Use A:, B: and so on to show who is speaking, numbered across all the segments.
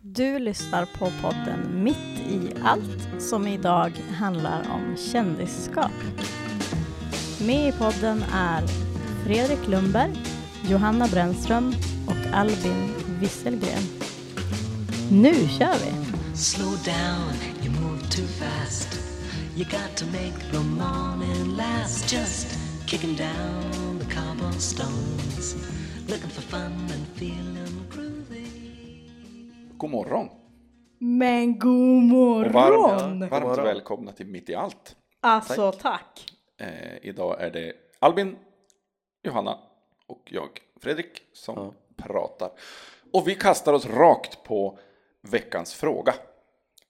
A: Du lyssnar på podden Mitt i allt som idag handlar om kändisskap. Med i podden är Fredrik Lundberg, Johanna Brännström och Albin Wisselgren. Nu kör vi!
B: Slow down, you move too fast. You got to make the morning last. Just kicking down the cobblestones, looking for fun and feeling groovy.
C: God morgon
D: Men god
C: och
D: morgon!
C: varmt, varmt välkomna till Mitt i allt.
D: Alltså tack!
C: Eh, idag är det Albin, Johanna och jag, Fredrik, som pratar. Och vi kastar oss rakt på veckans fråga.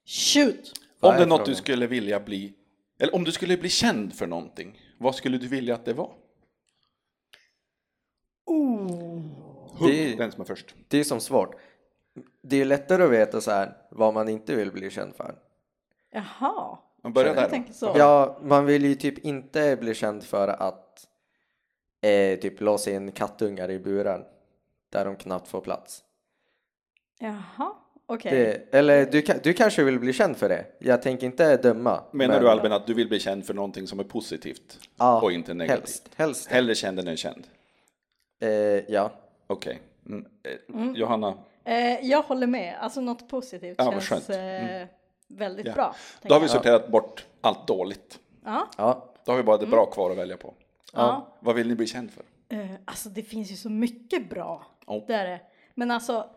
D: Shoot!
E: Vad
C: om
E: är
C: det är något
E: frågan?
C: du skulle vilja bli, eller om du skulle bli känd för någonting, vad skulle du vilja att det var? Oh.
E: Det-
C: Den som är först.
E: Det är som svårt. Det är lättare att veta så här vad man inte vill bli känd för.
D: Jaha,
C: Man börjar
D: jag
C: där.
D: tänker
C: då.
D: så.
E: Ja, man vill ju typ inte bli känd för att eh, typ låsa in kattungar i burar där de knappt får plats.
D: Jaha, okej.
E: Det, eller du, ka- du kanske vill bli känd för det. Jag tänker inte döma.
C: Menar
E: men-
C: du Albin att du vill bli känd för någonting som är positivt
E: Ja,
C: och inte negativt?
E: Helst. helst.
C: Hellre känd än okänd?
E: Eh, ja.
C: Okej. Mm. Eh, Johanna,
D: Eh, jag håller med, alltså något positivt
C: Ja, vad
D: känns
C: skönt. Mm.
D: eh, väldigt
C: Ja.
D: bra.
C: då har vi
D: tänker jag.
C: sorterat bort allt dåligt.
D: Ja,
E: ja.
C: Då har vi bara
D: Mm.
C: det bra kvar att välja på.
D: ja.
C: Vad vill ni bli känd för?
D: Eh, alltså det finns ju så mycket bra,
C: Ja.
D: det är det. Men alltså,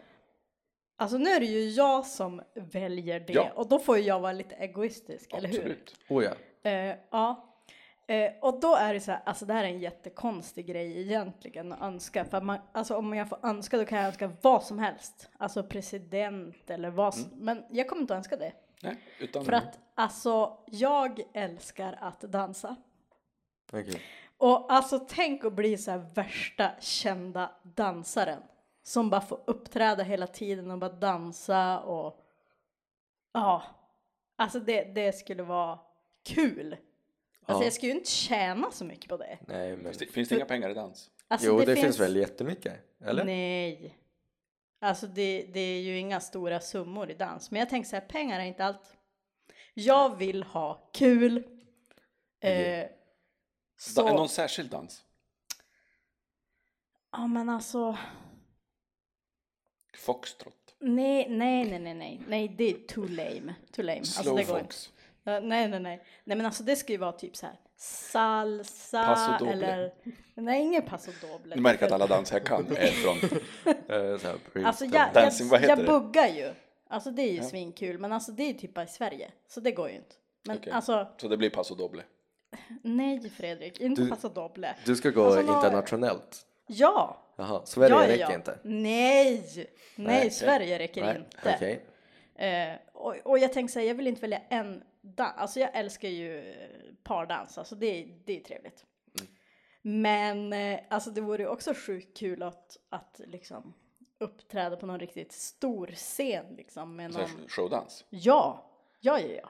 D: alltså nu är det ju jag som väljer det
C: Ja.
D: och då får ju jag vara lite egoistisk, eller hur?
C: Absolut.
E: Oh, ja.
D: Eh, ja. Eh, och då är det så här, alltså det här är en jättekonstig grej egentligen att önska. För att man, alltså om jag får önska då kan jag önska vad som helst. Alltså president eller vad som,
C: Mm.
D: Men jag kommer inte önska det.
C: Nej, utan
D: För att alltså jag älskar att dansa.
E: Okej.
D: Och alltså tänk att bli så här värsta kända dansaren. Som bara får uppträda hela tiden och bara dansa och ja. Alltså det, det skulle vara kul. Alltså
E: Ja.
D: jag skulle ju inte tjäna så mycket på det.
E: Nej, men...
C: Finns det, finns det inga pengar i dans?
D: Alltså,
E: Jo, det, finns... väl jättemycket? Eller?
D: Nej. Alltså det, det är ju inga stora summor i dans. Men jag tänker så här, pengar är inte allt. Jag vill ha kul. Eh, så...
C: Da, någon särskild dans?
D: Ja men alltså.
C: Foxtrot?
D: Nej, nej, nej, nej, nej, nej, det är too lame, too lame. Alltså, det går inte.
C: Slowfox?
D: Ja, nej, nej, nej, nej, men alltså det ska ju vara typ så här salsa
C: Paso doble.
D: eller nej, ingen paso doble.
C: Ni märker att alla danser jag kan är från...
E: Eh, så här,
D: Alltså
E: Princeton.
D: jag,
C: Dancing, vad
D: jag, jag
C: heter det?
D: buggar ju. Alltså det är ju svinkul, men alltså det är ju typ bara i Sverige, så det går ju inte. Men
C: Okej.
D: alltså
C: Så det blir paso doble.
D: nej Fredrik, inte
E: Du-
D: paso doble.
E: Du ska gå
D: Alltså, vad-
E: internationellt?
D: Ja,
E: Jaha,
D: ja,
E: Sverige
D: ja,
E: räcker
D: ja.
E: inte?
D: Nej, nej,
E: okej.
D: Sverige räcker inte.
E: okej.
D: Eh, och, och jag tänker så här, jag vill inte välja en dans. Alltså jag älskar ju eh, pardans, alltså det, det är trevligt.
C: Mm.
D: Men eh, alltså det vore ju också sjukt kul att, att liksom uppträda på någon riktigt stor scen liksom. Med
C: Så
D: någon...
C: här, showdans.
D: Ja, ja, ja, ja.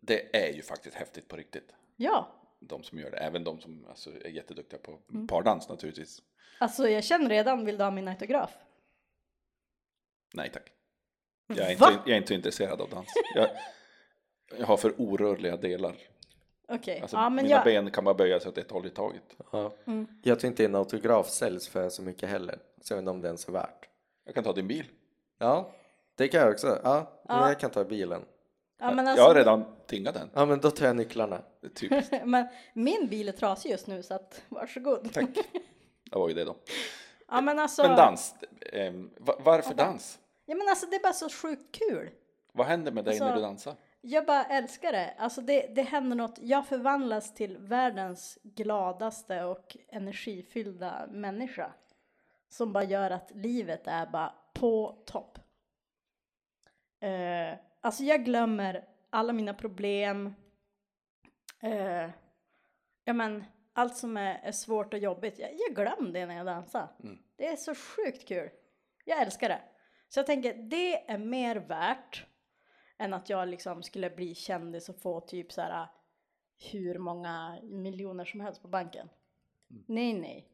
C: Det är ju faktiskt häftigt på riktigt.
D: Ja,
C: De som gör det, även de som alltså, är jätteduktiga på
D: Mm.
C: pardans naturligtvis.
D: alltså jag känner redan, vill du ha min autograf?
C: Nej tack. Jag är,
D: Va?
C: inte, jag är inte intresserad av dans. Jag, jag har för orörliga delar.
D: Okej,
C: Alltså,
D: ja men
C: mina
D: jag...
C: ben kan bara böja sig åt ett håll i taget.
E: Ja.
D: Mm.
E: Jag tror inte en autograf säljs för så mycket heller. Så jag vet inte om det ens är värt.
C: Jag kan ta din bil.
E: Ja, det kan jag också. Ja, Men jag kan ta bilen.
D: Ja, men
C: jag har
D: alltså,
C: redan tingat den.
E: Ja, men då tar jag nycklarna.
C: Typ.
D: men min bil är trasig just nu så att varsågod.
C: Tack. Det var ju det då.
D: Ja, men alltså,
C: Men dans. ehm, va- varför dans?
D: Ja men alltså det är bara så sjukt kul.
C: Vad händer med dig när
D: Alltså-
C: du dansar?
D: Jag bara älskar det. Alltså det, det händer något. Jag förvandlas till världens gladaste och energifyllda människa. Som bara gör att livet är bara på topp. Eh, alltså jag glömmer alla mina problem. Eh, ja men allt som är, är svårt och jobbigt. Jag, jag glömmer det när jag dansar. Det är så sjukt kul. Jag älskar det. Så jag tänker det är mer värt än att jag liksom skulle bli kändis och få typ så här hur många miljoner som helst på banken.
E: Mm.
D: Nej, nej.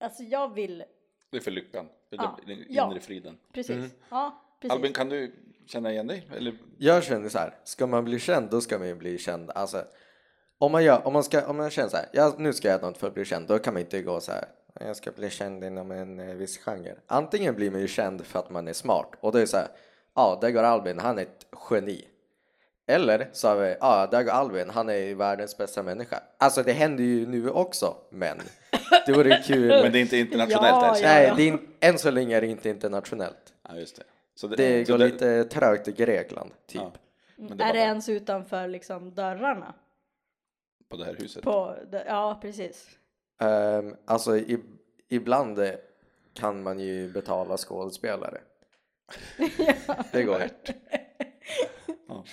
D: Alltså jag vill,
C: Det är för lyckan. För
D: Ja.
C: Den den inre
D: Ja.
C: friden.
E: Mm.
D: precis. Ja, precis.
C: Albin, kan du känna igen dig? Eller,
E: Jag känner så här, ska man bli känd då ska man ju bli känd. Alltså, om man, gör, om man, ska, om man känner så här, ja, nu ska jag göra något för att bli känd, då kan man inte gå så här, jag ska bli känd inom en eh, viss genre. Antingen blir man ju känd för att man är smart och då är det så här, ja, där går Albin, han är ett geni. Eller så har vi, ja, där går Albin, han är ju världens bästa människa. Alltså det händer ju nu också, men det vore ju kul.
C: men det är inte internationellt
D: Ja,
C: än. så-
D: ja.
E: Nej, det är, in- än så länge är det inte internationellt.
C: Ja, just det. Så det,
E: Det
C: så
E: går lite trögt i Grekland, typ.
C: Ja, men det
D: Är
C: var
D: det
C: bara
D: ens utanför liksom dörrarna?
C: på det här huset.
D: På, dö- ja, precis.
E: Ehm, alltså i, ibland eh, kan man ju betala skådespelare. Det går.
C: Ja.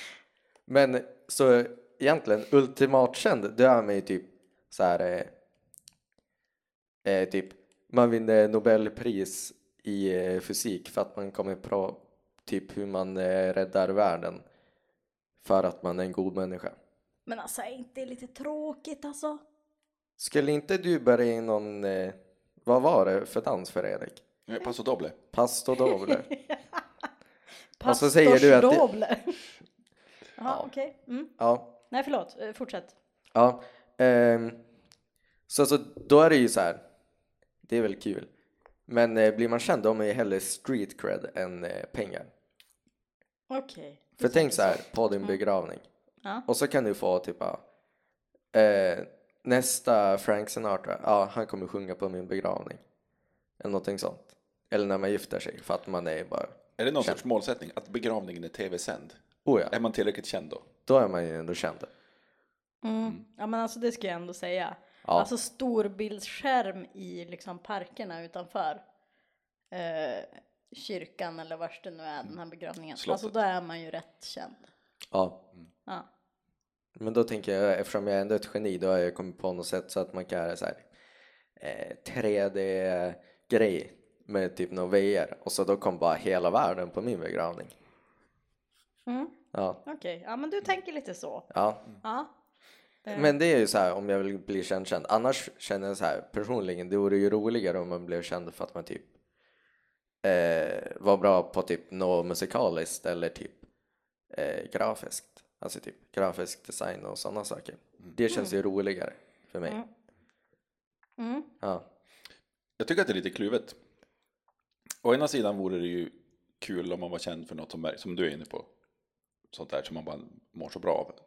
E: Men så egentligen ultimat känd, det är man ju typ så här. Eh, eh, typ man vinner Nobelpris i eh, fysik för att man kommer på typ hur man eh, räddar världen för att man är en god människa.
D: Men alltså, är inte det lite tråkigt alltså?
E: Skulle inte du börja i någon, eh, vad var det för dans för Erik?
C: Eh, Paso doble.
E: Pasto doble? Och så
D: Pastors
E: säger du att det-
D: doble. Jaha, okej. Mm.
E: ja.
D: Nej, förlåt. Eh, Fortsätt.
E: Ja. ehm, så, så då är det ju så här. Det är väl kul. Men eh, blir man känd då har man ju hellre street cred än eh, pengar.
D: Okej.
E: För tänk så här på din begravning.
D: Ja.
E: Och så kan du få typ ja, eh, nästa Frank Sinatra. Ja, han kommer sjunga på min begravning. Eller någonting sånt. Eller när man gifter sig för att man är bara.
C: Är det någon sorts målsättning att begravningen är tv-sänd?
E: Oh
C: Är
E: ja,
C: man tillräckligt känd då?
E: då är man ju ändå känd.
D: Mm. Ja, men alltså det ska jag ändå säga.
E: Ja.
D: Alltså storbildsskärm i liksom parkerna utanför eh, kyrkan eller vars det nu är, den här begravningen.
C: Slottet.
D: Alltså då är man ju rätt känd.
E: Ja.
D: Ja.
E: Men då tänker jag, eftersom jag ändå är ett geni, då har jag kommit på något sätt så att man kan göra så här eh, 3D-grej med typ någon VR och så då kom bara hela världen på min begravning.
D: Mm.
E: Ja,
D: Okej, ja men
C: Mm.
D: du tänker lite så.
E: ja.
D: Ja. Eh,
E: Men det är ju så här om jag vill bli känd känd. Annars känner jag så här personligen, det vore ju roligare om man blev känd för att man typ eh, var bra på typ något musikaliskt eller typ eh, grafiskt. Alltså typ grafisk design och sådana saker. Det känns ju roligare för
C: Mm.
E: mig.
D: Mm.
E: Ja.
C: Jag tycker att det är lite kluvet. Å ena sidan vore det ju kul om man var känd för något som, som du är inne på. Sånt där som man bara mår så bra av.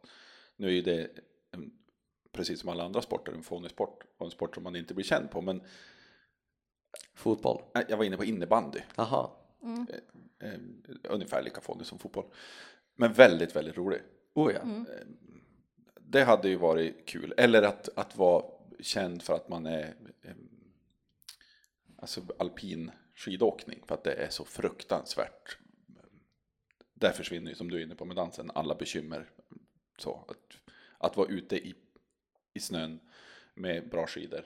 C: Nu är ju det, en, precis som alla andra sporter, en fånig sport. Och en sport som man inte blir känd på. Men
E: Fotboll?
C: eh, jag var inne på innebandy.
E: Jaha.
D: mm.
C: Eh, ungefär lika fånig som fotboll. Men väldigt, väldigt rolig.
E: Oh ja.
C: Eh, Det hade ju varit kul. Eller att, att vara känd för att man är eh, alltså alpin skidåkning. För att det är så fruktansvärt. Där försvinner ju, som du är inne på med dansen, alla bekymmer. Så, att, att vara ute i, i snön med bra skidor.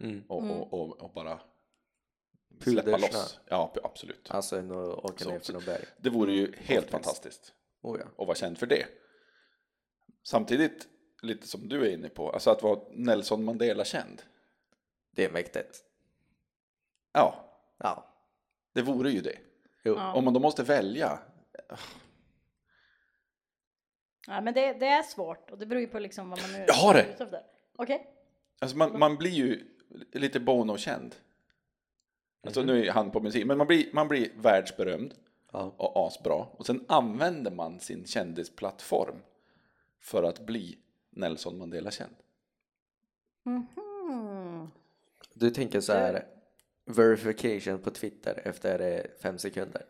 E: Mm.
C: Och, och, och, och bara släppa
E: Pudersnö.
C: loss. Ja, absolut.
E: Alltså nu åker
C: Så-
E: ner för något berg.
C: Det vore ju helt
E: Oftast.
C: fantastiskt
E: Oh ja.
C: och vara känd för det. Samtidigt, lite som du är inne på, alltså att vara Nelson Mandela-känd.
E: Det är mäktigt.
C: Ja,
E: Ja.
C: det vore ju det.
E: Jo.
C: Om man då måste välja,
D: Ja, men det, det är svårt och det beror ju på liksom vad man nu
C: Jag har det!
D: är ute efter. Okej,
C: alltså man, man blir ju lite Bono-känd. Alltså
E: Mhm.
C: nu är han på musik, men man blir, man blir världsberömd
E: Ja.
C: och asbra. Och sen använder man sin kändisplattform för att bli Nelson Mandela-känd. Mm-hmm.
D: Mm-hmm.
E: Du tänker så här verification på Twitter efter eh, fem sekunder.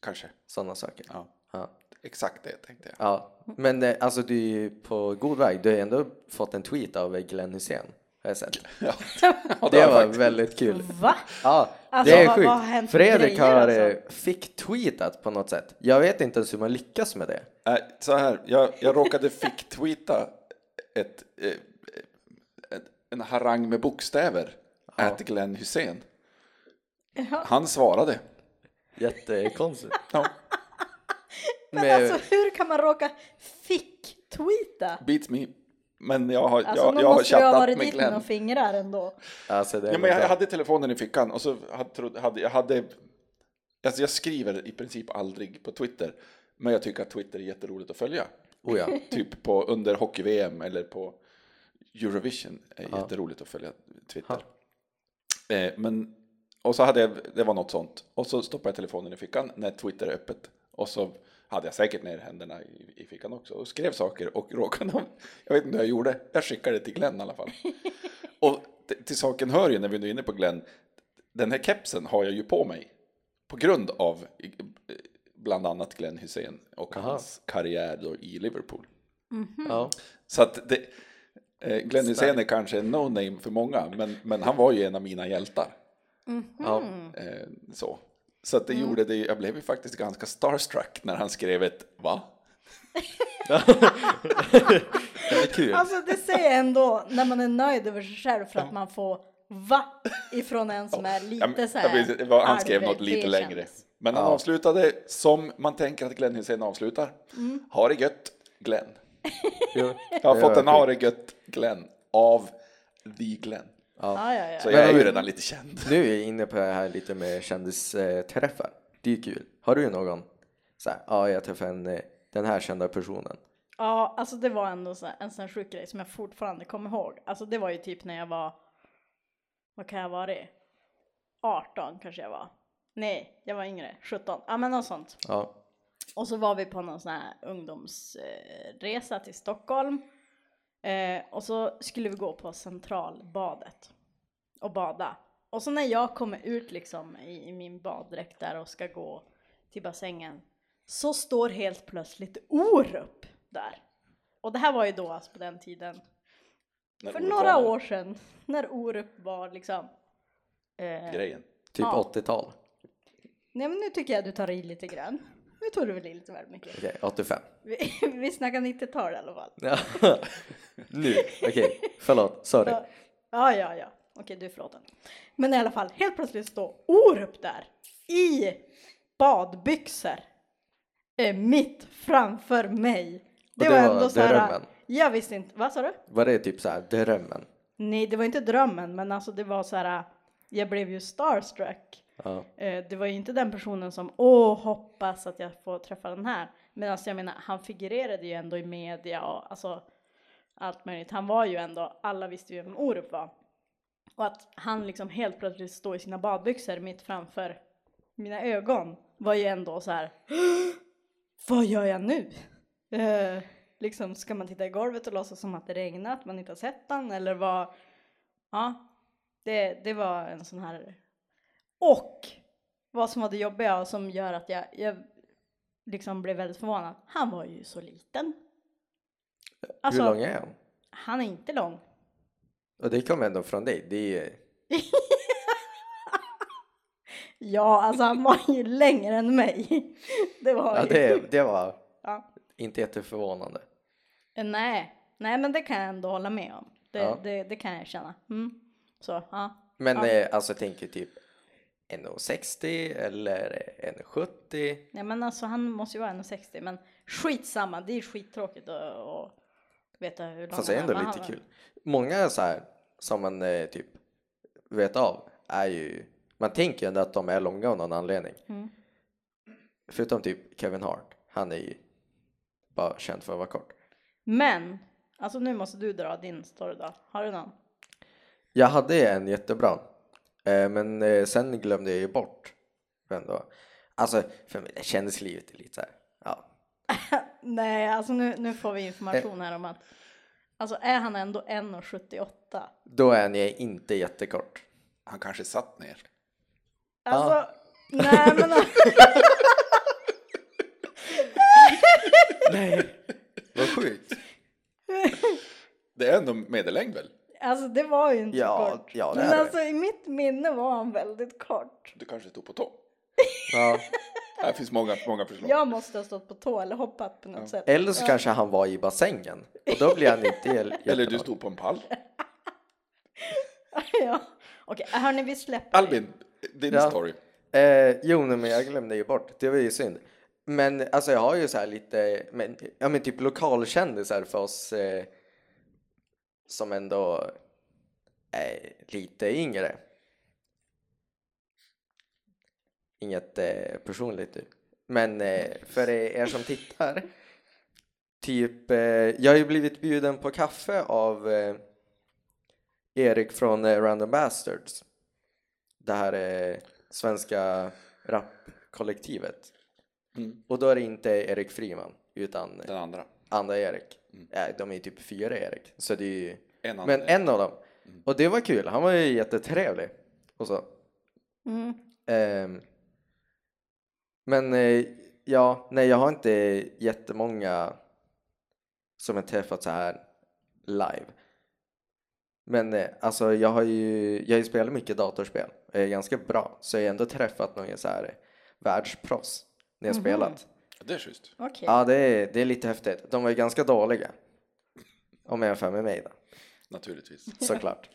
C: Kanske.
E: Sådana saker.
C: Ja,
E: Ja.
C: exakt det tänkte jag.
E: ja. Men eh, alltså du är ju på god väg. Du har ändå fått en tweet av eh, Glenn Hysén. Har jag sett.
C: Ja,
E: Det
C: har jag
E: var
C: faktiskt.
E: väldigt kul.
D: va?
E: Ja,
D: Alltså,
E: det är
D: vad-
E: sjukt.
D: vad har hänt för
E: Fredrik
D: grejer,
E: har
D: alltså?
E: eh, fick tweetat på något sätt. Jag vet inte ens hur man lyckas med det.
C: Nej, så här, jag, jag råkade fick-tweeta ett, eh, ett, en harang med bokstäver. At Glenn Hussein. Han svarade.
E: Jättekonstigt.
C: Ja,
D: Men alltså hur kan man råka fick-tweeta?
C: beats me. Men jag har,
D: Alltså
C: jag,
D: någon
C: jag har
D: måste ju ha
C: chattat
D: varit
C: med
D: dit med
C: Glenn.
D: några fingrar ändå.
E: Alltså, det är
C: Ja, men jag
E: mycket.
C: hade telefonen i fickan och så hade, trodde- hade, jag hade Alltså jag skriver i princip aldrig på Twitter, men jag tycker att Twitter är jätteroligt att följa.
E: Oh ja.
C: Typ på, under hockey-VM eller på Eurovision. är
E: Ja.
C: Jätteroligt att följa Twitter. Eh, men, och så hade jag, det var något sånt. Och så stoppade jag telefonen i fickan när Twitter är öppet. Och så hade jag säkert ner händerna i, i fickan också och skrev saker och råkade, jag vet inte hur jag gjorde, jag skickade det till Glenn i alla fall. Och t- till saken hör ju när vi nu är inne på Glenn, den här kepsen har jag ju på mig på grund av eh, bland annat Glenn Hussein och
E: Aha.
C: hans karriär då i Liverpool.
E: ja.
C: Så att det, eh, Glenn Hysén är kanske en no-name för många, men, men han var ju en av mina hjältar.
E: ja.
C: Eh, så så att det gjorde det, jag blev ju faktiskt ganska starstruck när han skrev ett va?
E: Det är kul.
C: typ.
D: Alltså det säger jag ändå när man är nöjd över sig själv för att man får va ifrån en som är
C: Jag-
D: lite så
C: jag
D: här.
C: vet inte vad- han skrev
D: arg.
C: något lite
D: Det
C: längre.
D: känns.
C: Men han avslutade som man tänker att Glenn Hysén avslutar.
D: Mm.
C: Ha det gött, Glenn.
E: Jo.
C: Jag har
E: Det
C: fått
E: var
C: en ha det gött, Glenn, av The Glenn.
D: Ja, ja, ja.
C: Så jag är ju
E: Men-
C: redan lite känd.
E: Nu är jag inne på det här lite med kändisträffar. Det är kul. Har du någon? Så här, ja, jag träffade en, eh, den här kända personen.
D: Ja, alltså det var ändå så här, en sån här sjuk grej som jag fortfarande kommer ihåg. Alltså det var ju typ när jag var, vad kan jag vara det? 18 kanske jag var. Nej, jag var yngre, 17. Ja men något sånt.
E: Ja,
D: Och så var vi på någon sån här ungdomsresa till Stockholm. Eh, och så skulle vi gå på centralbadet och bada. Och så när jag kommer ut liksom i, i min baddräkt där och ska gå till bassängen så står helt plötsligt Orup där. Och det här var ju då alltså på den tiden,
C: När
D: för
C: Olof
D: några
C: Palme-
D: år sedan, när Orup var liksom eh,
C: Grejen.
E: typ
D: Ja.
E: 80-tal.
D: Nej men nu tycker jag du tar i lite grann. Nu tog du väl i lite väl mycket.
E: Okej, 85.
D: Vi, vi snackar 90-tal i alla fall.
E: Ja. nu, okej, förlåt, sorry.
D: Ja, ja, ja. ja. Okej, du är förlåten. Men i alla fall, helt plötsligt står Orup där i badbyxor eh, mitt framför mig. Det,
E: Och
D: var,
E: det var
D: ändå så här.
E: drömmen.
D: Jag visste inte. Vad sa du?
E: Var det typ så här drömmen?
D: Nej, det var inte drömmen, men alltså det var så här. Jag blev ju starstruck.
E: Ja,
D: Eh, det var ju inte den personen som åh hoppas att jag får träffa den här. Men alltså jag menar han figurerade ju ändå i media och alltså allt möjligt. Han var ju ändå, alla visste ju vem Orup var. Och att han liksom helt plötsligt står i sina badbyxor mitt framför mina ögon var ju ändå så här. Vad gör jag nu? Eh, liksom ska man titta i golvet och låtsas som att det regnar, att man inte har sett han eller vad? Ja, det, det var en sån här och vad som var det jobbiga och som gör att jag, jag liksom blev väldigt förvånad. Han var ju så liten. Alltså,
E: hur lång är han?
D: han är inte lång.
E: Och det kom ändå från dig. Det är,
D: Ja, alltså han var ju längre än mig. Det var
E: ja,
D: ju.
E: det, det var
D: Ja.
E: inte jätteförvånande.
D: Eh, Nej, nej men det kan jag ändå hålla med om. Det,
E: Ja.
D: det, det kan jag känna. Mm. Så, ja.
E: Men
D: Ja.
E: eh, alltså, jag tänker typ 1,60 eller 1,70.
D: Nej men alltså han måste ju vara 1,60 men skitsamma, det är skittråkigt att att veta hur lång
E: Fast det är ändå
D: men
E: lite
D: var-
E: kul. Många så här som man eh, typ vet av är ju, man tänker ju ändå att de är långa av någon anledning.
D: Mm.
E: Förutom typ Kevin Hart, han är ju bara känd för att vara kort.
D: Men, alltså nu måste du dra din story då. Har du någon?
E: Jag hade en jättebra, eh, men eh, sen glömde jag ju bort vem det var. Alltså, för mig, kändislivet är lite så här, ja.
D: Nej, alltså nu, nu får vi information
E: Eh.
D: här om att alltså är han ändå 1,78?
E: Då är ni inte jättekort.
C: Han kanske satt ner.
D: Alltså, nej men alltså,
E: Nej, vad sjukt.
C: Det är ändå medellängd väl?
D: alltså det var ju inte
E: Ja,
D: kort.
E: ja, det är
D: men
E: det.
D: alltså i mitt minne var han väldigt kort.
C: Du kanske stod på tå?
E: Ja.
C: Här finns många, många förslag.
D: Jag måste ha stått på tå eller hoppat på något sätt.
E: Eller så kanske han var i bassängen och då blir han inte jättelång.
C: Eller du stod på en pall.
D: ja. Okej, hörni vi släpper.
C: Albin, din
E: Ja.
C: story.
E: Eh, jo, nej, men jag glömde ju bort. Det var ju synd. Men alltså, jag har ju så här lite, men, ja men typ lokalkändisar för oss eh, som ändå är lite yngre. Inget eh, personligt nu. Men eh, för er som tittar. Typ, eh, jag har ju blivit bjuden på kaffe av eh, Erik från eh, Random Bastards. Det här eh, svenska rapkollektivet.
C: Mm.
E: Och då är det inte Erik Friman utan
C: Den andra.
E: andra Erik.
C: Mm.
E: Nej, de är ju typ fyra Erik. Så det är ju...
C: En annan
E: Men en av dem.
C: Mm.
E: Och det var kul. Han var ju jättetrevlig. Och så.
D: Mm.
E: Ehm, men eh, ja, nej jag har inte jättemånga som jag träffat så här live. Men eh, alltså jag har ju, jag har ju spelat mycket datorspel. Jag är ganska bra. Så jag har ändå träffat några så här eh, världsproffs när jag spelat.
C: Det är schysst.
D: Okej.
E: Ja, det är, det är lite häftigt. De var ju ganska dåliga. Om jag jämför med mig då,
C: Naturligtvis.
E: såklart.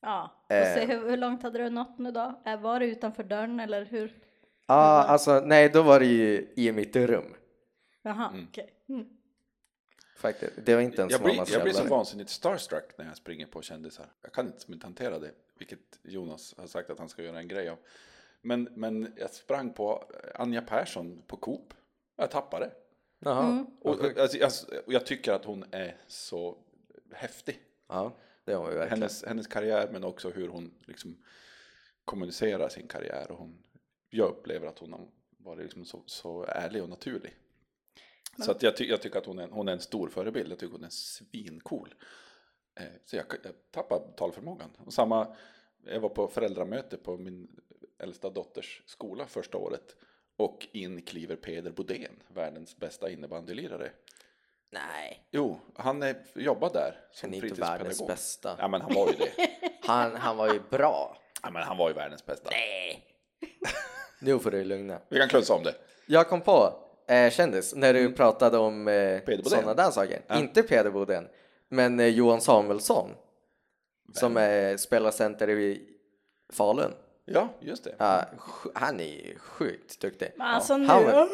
D: Ja.
E: Eh.
D: Och se, hur, hur långt hade du nått nu då? Eh, Var det utanför dörren eller hur?
E: Ja, alltså nej, då var det ju i mitt rum
D: Jaha, okej. Mm.
E: faktiskt. Det var inte ens
C: Jag blir,
E: mammas
C: jag blir så
E: källare.
C: vansinnigt starstruck när jag springer på kändisar. Jag kan inte, inte hantera det, vilket Jonas har sagt att han ska göra en grej av. Men, men jag sprang på Anja Persson på Coop. Jag tappade.
E: Jaha.
D: Mm.
C: Och, alltså, jag, och jag tycker att hon är så häftig.
E: Ja, det var vi verkligen.
C: Hennes, hennes karriär men också hur hon liksom kommunicerar sin karriär. Och hon, jag upplever att hon har varit liksom så, så ärlig och naturlig. Så att jag, ty, jag tycker att hon är, en- hon är en stor förebild. Jag tycker hon är svincool. Eh, Så jag, jag tappar talförmågan. Och samma, jag var på föräldramöte på min äldsta dotters skola första året. Och in kliver Peder Bodén, världens bästa innebandylirare.
E: Nej,
C: Jo, han är, jobbar där som
E: han är inte världens
C: fritidspedagog.
E: bästa.
C: Ja, men han var ju det.
E: Han, han var ju bra.
C: Ja, men han var ju världens bästa.
E: Nu får du lugna.
C: Vi kan klunsa om det.
E: Jag kom på, eh, kändis, när du pratade om eh,
C: Mm. Bodén.
E: sådana där saker.
C: Ja.
E: Inte Peder Bodén, men eh, Johan Samuelsson. Som eh, spelar center i Falun.
C: Ja, just det.
E: Ja, sj- han är ju sjukt duktig.
D: Men alltså nu...
E: Han var-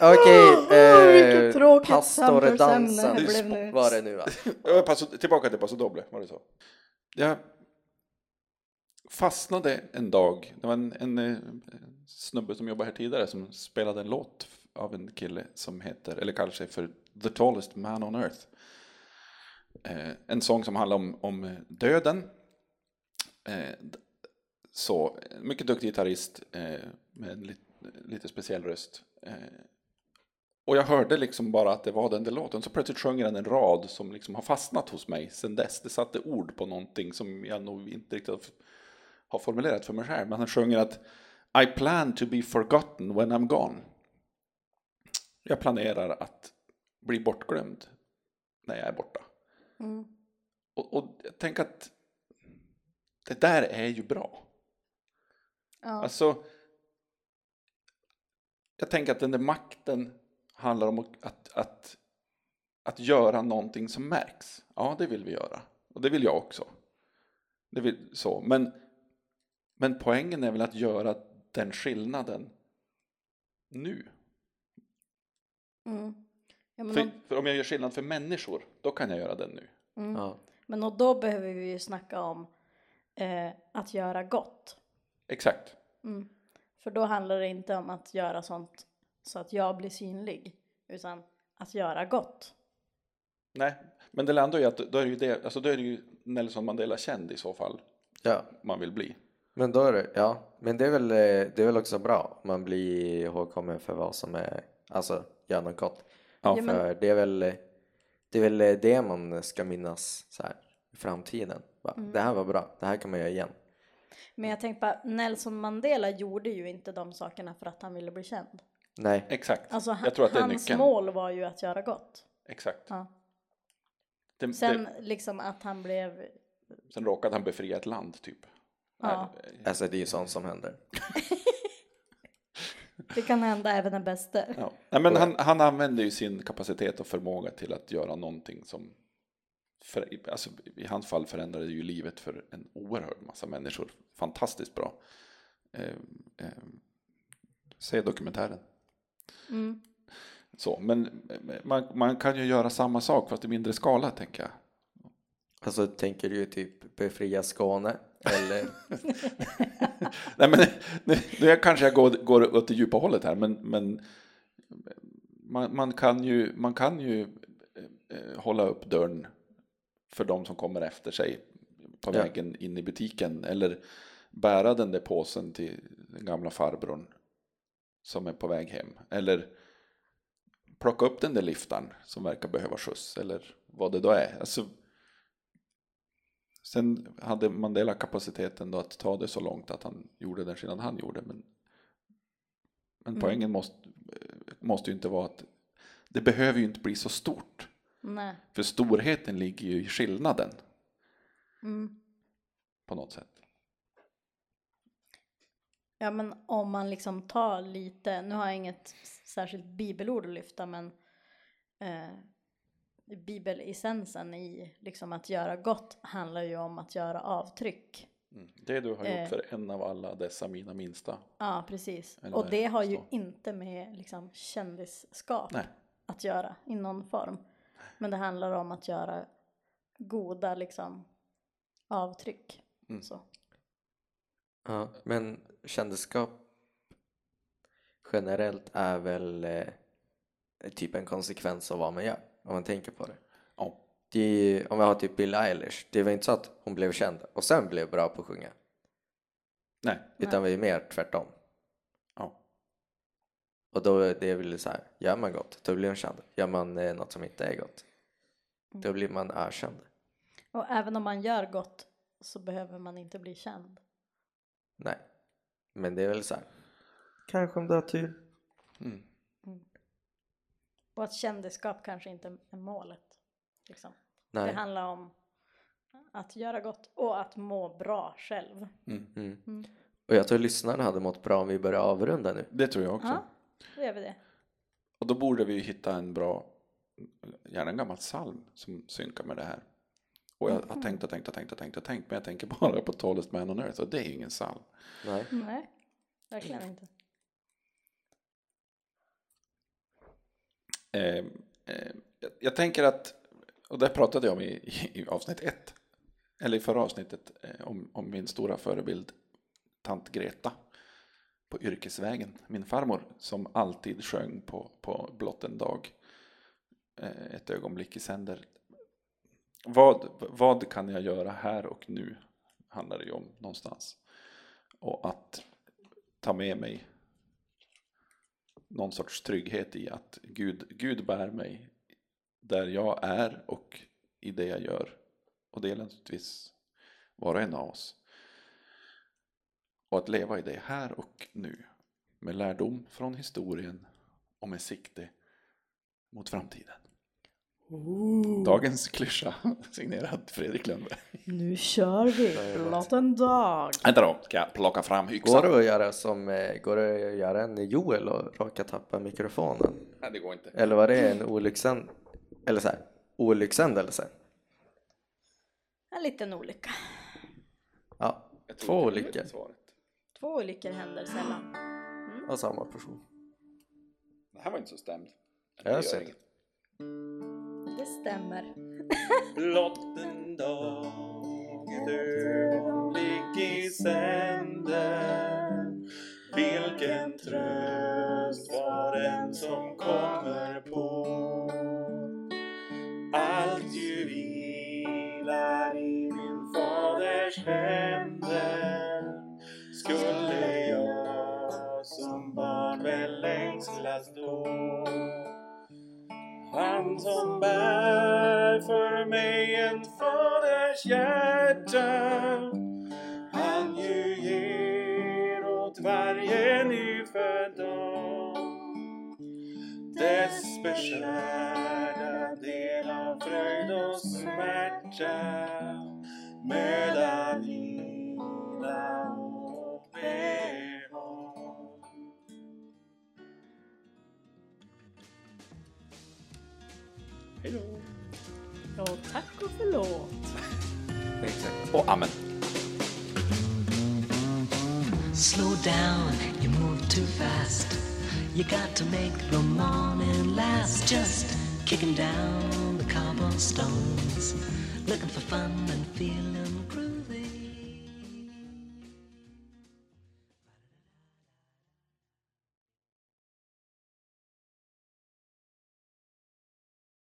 E: Okej, eh,
D: vilket tråkigt
E: pastoredansen
D: samtalsämne det blev nu.
E: var det nu va?
C: Jag passo- tillbaka till Eh, Paso Doble, var det så? Jag fastnade en dag. Det var en, en, eh, snubbe som jobbade här tidigare som spelade en låt av en kille som heter, eller kallar sig för The Tallest Man on Earth. Eh, en sång som handlar om, om döden. Eh, d- så, en mycket duktig gitarrist eh, med en lit, lite speciell röst. Eh, Och jag hörde liksom bara att det var den där låten. Så plötsligt sjöng den en rad som liksom har fastnat hos mig sen dess. Det satte ord på någonting som jag nog inte riktigt har- har formulerat för mig själv. Men han sjunger att I plan to be forgotten when I'm gone. Jag planerar att bli bortglömd när jag är borta. Och, och jag tänker att det där är ju bra.
D: Ja.
C: Alltså, jag tänker att den där makten handlar om att, att, att, att göra någonting som märks. Ja, det vill vi göra. Och det vill jag också. Det vill, så. Men, men poängen är väl att göra den skillnaden nu.
D: Ja, men,
C: För,
D: och,
C: för om jag gör skillnad för människor, då kan jag göra den nu.
D: Mm.
E: Ja.
D: men och då behöver vi ju snacka om eh, att göra gott.
C: Exakt.
D: Mm. För då handlar det inte om att göra sånt så att jag blir synlig, utan att göra gott.
C: Nej, men det landar ju i att då är det ju, det, alltså då är det ju Nelson Mandela känd i så fall
E: ja,
C: man vill bli.
E: men då är det, ja, men det är väl, eh, det är väl också bra om man blir ihågkommen för vad som är, alltså gör något gott.
C: Ja.
E: för
D: Ja, men-
E: det är väl, eh, det är väl eh, det man ska minnas så här i framtiden. Va? Det här var bra, det här kan man göra igen.
D: Men jag tänkte bara, Nelson Mandela gjorde ju inte de sakerna för att han ville bli känd.
E: Nej,
C: Exakt.
D: Alltså han,
C: jag tror att det är
D: hans
C: nyckeln.
D: mål var ju att göra gott.
C: Exakt.
D: Ja.
C: Det,
D: Sen
C: det,
D: liksom att han blev,
C: sen råkade han befria ett land typ.
D: Ja.
C: Nej, eh,
E: alltså det är ju sånt som händer.
D: det kan hända även den bäste.
C: ja. Nej, men han, han använde ju sin kapacitet och förmåga till att göra någonting som för, alltså, i hans fall förändrade ju livet för en oerhörd massa människor. Fantastiskt bra. Eh, eh, se dokumentären. Så, men eh, man, man kan ju göra samma sak fast i mindre skala tänker jag.
E: Alltså tänker du ju typ befria Skåne? Eller,
C: Nej, men, nu, nu kanske jag går, går åt det djupa hållet här, men, men man, man kan ju, man kan ju eh, hålla upp dörren för de som kommer efter sig på
E: Ja.
C: vägen in i butiken eller bära den där påsen till den gamla farbrorn som är på väg hem eller plocka upp den där liftan som verkar behöva skjuts eller vad det då är. Alltså, sen hade Mandela kapaciteten då att ta det så långt att han gjorde den skillnad han gjorde. Men, men poängen måste, måste ju inte vara att det behöver ju inte bli så stort.
D: Nej.
C: För storheten ligger ju i skillnaden
D: Mm.
C: på något sätt.
D: Ja men om man liksom tar lite, nu har jag inget s- särskilt bibelord att lyfta men eh, bibelessensen i liksom att göra gott handlar ju om att göra avtryck.
C: Mm. Det du har
D: Eh.
C: gjort för en av alla dessa mina minsta.
D: Ja precis.
C: Eller
D: Och
C: vad
D: det
C: det
D: har ju
C: står.
D: inte med liksom kändisskap
C: Nej.
D: att göra i någon form. Men det handlar om att göra goda liksom avtryck.
C: Mm.
D: Så.
E: ja, men kändisskap generellt är väl eh, typ en konsekvens av vad man gör, om man tänker på det.
C: Ja.
E: det är, ju- om vi har typ Billie Eilish, det var inte så att hon blev känd och sen blev bra på att sjunga.
C: Nej.
E: Utan vi är mer tvärtom.
C: Ja.
E: Och då är det väl så här, gör man gott, då blir man känd. Gör man eh, något som inte är gott, då blir man ökänd.
D: Och även om man gör gott så behöver man inte bli känd.
E: Nej. Men det är väl så här. Kanske om typ. du har tur.
C: Mm.
D: Och att kändisskap kanske inte är målet. Liksom. Det
E: Nej.
D: handlar om att göra gott och att må bra själv.
E: Mm.
D: Mm.
E: Och jag tror lyssnarna hade mått bra om vi börjar avrunda nu.
C: Det tror jag också.
D: Ja, då gör vi det.
C: Och då borde vi ju hitta en bra, gärna en gammal psalm som synkar med det här. Och jag har tänkt och tänkt och tänkt och tänkt och tänkt, men jag tänker bara på Tallest Man on Earth och det är ju ingen psalm.
E: Nej.
D: Nej, verkligen inte.
C: Eh, eh, jag- jag tänker att, och det pratade jag om i, i, i avsnitt ett, eller i förra avsnittet, eh, om, om min stora förebild, tant Greta på yrkesvägen, min farmor, som alltid sjöng på, på blott en dag, eh, ett ögonblick i sänder. Vad, vad kan jag göra här och nu, handlar det ju om någonstans. Och att ta med mig någon sorts trygghet i att Gud, Gud bär mig där jag är och i det jag gör. Och det gäller naturligtvis var och en av oss. Och att leva i det här och nu med lärdom från historien och med sikte mot framtiden. Dagens klyscha signerad Fredrik Lundberg.
A: Nu kör vi! Blott en dag!
C: Vänta då, ska jag plocka fram
E: Går
C: yxan?
E: det att göra som, eh, går det att göra en Joel och råka tappa mikrofonen?
C: Nej, det går inte.
E: Eller var det en olycksänd... Eller så här, olycksändelse?
D: En liten olycka.
E: Ja, två olyckor
C: Svaret.
D: Två olyckor händer sällan.
E: av samma person.
C: Det här var inte så stämd.
E: Jag har sett.
D: Det stämmer.
C: Blott en dag, ett ögonblick i sänder Vilken tröst var den som kommer på Allt ju vilar i min faders händer Skulle jag som barn väl längslas då han som bär för mig en faders hjärta Han ju ger åt varje nyfödd dag Dess beskärda del av fröjd och smärta Möda, vila och bevara Hej då!
D: Och tack och förlåt.
E: Exakt.
C: Och amen.
B: Slow down, you move too fast. You got to make the morning last. Just kicking down the cobblestones, looking for fun and feeling